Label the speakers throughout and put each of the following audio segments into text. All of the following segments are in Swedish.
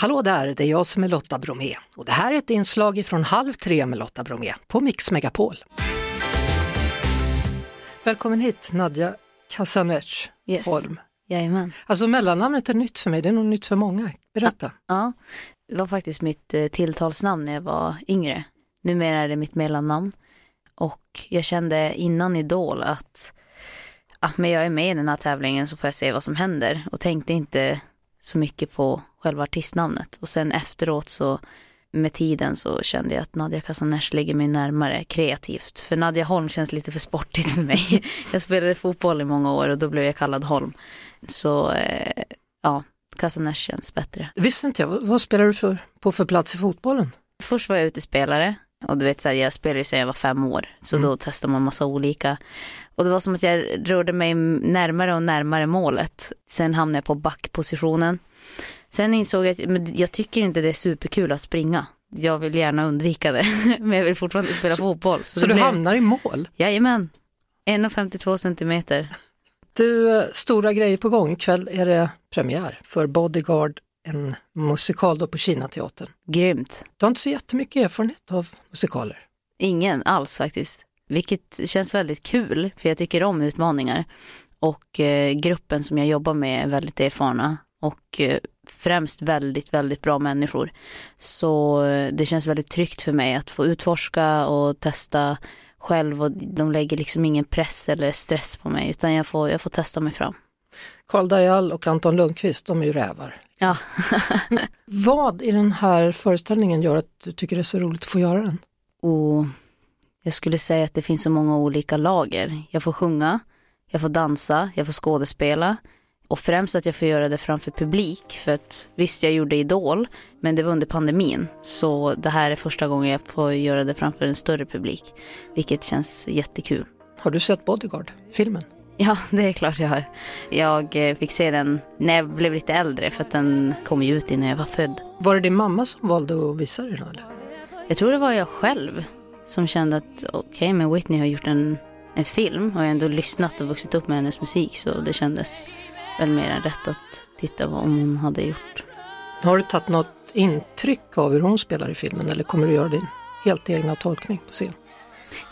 Speaker 1: Hallå där, det är jag som är Lotta Bromé och det här är ett inslag från Halv tre med Lotta Bromé på Mix Megapol. Välkommen hit Nadja Kasanec
Speaker 2: Yes.
Speaker 1: Holm.
Speaker 2: Jajamän.
Speaker 1: Alltså mellannamnet är nytt för mig, det är nog nytt för många. Berätta.
Speaker 2: Ja, det var faktiskt mitt eh, tilltalsnamn när jag var yngre. Numera är det mitt mellannamn. Och jag kände innan Idol att ja, men jag är med i den här tävlingen så får jag se vad som händer. Och tänkte inte så mycket på själva artistnamnet. Och sen efteråt så med tiden så kände jag att Nadja Casaners ligger mig närmare kreativt. För Nadja Holm känns lite för sportigt för mig. Jag spelade fotboll i många år och då blev jag kallad Holm. Så eh, ja, Casaners känns bättre.
Speaker 1: Visste inte jag, vad vad spelar du för, på för plats i fotbollen?
Speaker 2: Först var jag utespelare och du vet så här, jag spelade ju sedan jag var fem år så
Speaker 1: Mm.
Speaker 2: då testade man massa olika och det var som att jag rörde mig närmare och närmare målet. Sen hamnade jag på backpositionen. Sen insåg jag att men jag tycker inte det är superkul att springa. Jag vill gärna undvika det men jag vill fortfarande spela fotboll.
Speaker 1: Så,
Speaker 2: det
Speaker 1: du
Speaker 2: blev-
Speaker 1: hamnar i mål.
Speaker 2: Jajamän, 1,52 centimeter.
Speaker 1: Du, eh, stora grejer på gång. Ikväll är det premiär för Bodyguard, en musikal då på Kinateatern.
Speaker 2: Grymt.
Speaker 1: Du har inte så jättemycket erfarenhet av musikaler.
Speaker 2: Ingen alls faktiskt. Vilket känns väldigt kul, för jag tycker om utmaningar. Och eh, gruppen som jag jobbar med är väldigt erfarna och eh, främst väldigt, väldigt bra människor. Så eh, det känns väldigt tryggt för mig att få utforska och testa själv och de lägger liksom ingen press eller stress på mig utan jag får, jag får testa mig fram.
Speaker 1: Karl Dajal och Anton Lundqvist, de är ju rävar.
Speaker 2: Ja.
Speaker 1: Vad i den här föreställningen gör att du tycker det är så roligt att få göra den?
Speaker 2: Och jag skulle säga att det finns så många olika lager. Jag får sjunga, jag får dansa, jag får skådespela. Och främst att jag får göra det framför publik. För att visst, jag gjorde Idol, men det var under pandemin. Så det här är första gången jag får göra det framför en större publik. Vilket känns jättekul.
Speaker 1: Har du sett Bodyguard, filmen?
Speaker 2: Ja, det är klart jag har. Jag eh, fick se den när jag blev lite äldre, för att den kom ju ut innan jag var född.
Speaker 1: Var det din mamma som valde att visa dig den? Eller?
Speaker 2: Jag tror det var jag själv som kände att okej, men Whitney har gjort en, en film och jag har ändå lyssnat och vuxit upp med hennes musik så det kändes väl mer än rätt att titta vad om hon hade gjort.
Speaker 1: Har du tagit något intryck av hur hon spelar i filmen eller kommer du göra din helt egna tolkning på scen?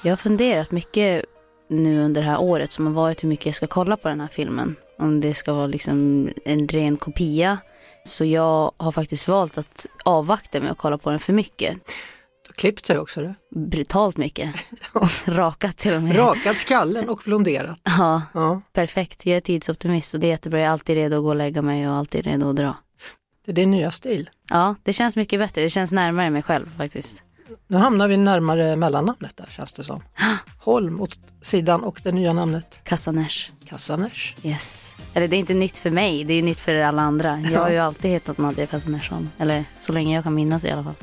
Speaker 2: Jag har funderat mycket nu under det här året som har varit hur mycket jag ska kolla på den här filmen. Om det ska vara liksom en ren kopia. Så jag har faktiskt valt att avvakta med att kolla på den för mycket.
Speaker 1: Du klippte jag också det.
Speaker 2: Brutalt mycket. Rakat till och med.
Speaker 1: Rakat skallen och blonderat.
Speaker 2: Ja.
Speaker 1: Ja,
Speaker 2: Perfekt, jag är tidsoptimist och det är jättebra. Jag är alltid redo att gå och lägga mig och alltid redo att dra.
Speaker 1: det är din nya stil.
Speaker 2: Ja, det känns mycket bättre. Det känns närmare mig själv faktiskt.
Speaker 1: Nu hamnar vi närmare mellannamnet där känns det som. Holm åt sidan och det nya namnet
Speaker 2: Kassaners.
Speaker 1: Kassaners.
Speaker 2: Yes. Eller det är inte nytt för mig, det är nytt för alla andra. Jag har ju alltid hetat Nadja Kassanersson. Eller så länge jag kan minnas i alla fall.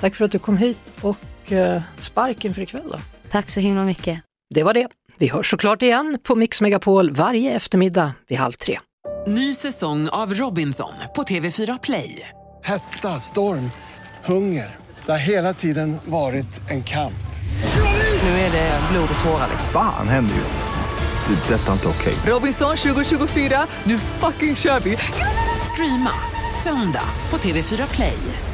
Speaker 1: Tack för att du kom hit och eh, sparken för ikväll då.
Speaker 2: Tack så himla mycket.
Speaker 1: Det var det. Vi hörs såklart igen på Mix Megapol varje eftermiddag vid halv tre.
Speaker 3: Ny säsong av Robinson på TV4 Play.
Speaker 4: Hetta, storm, hunger. Det har hela tiden varit en kamp.
Speaker 3: Nu är det blod och tårar.
Speaker 5: Fan händer just nu. Det. är Detta är inte okej.
Speaker 3: Robinson 2024, nu fucking kör vi! Streama söndag på TV4 Play.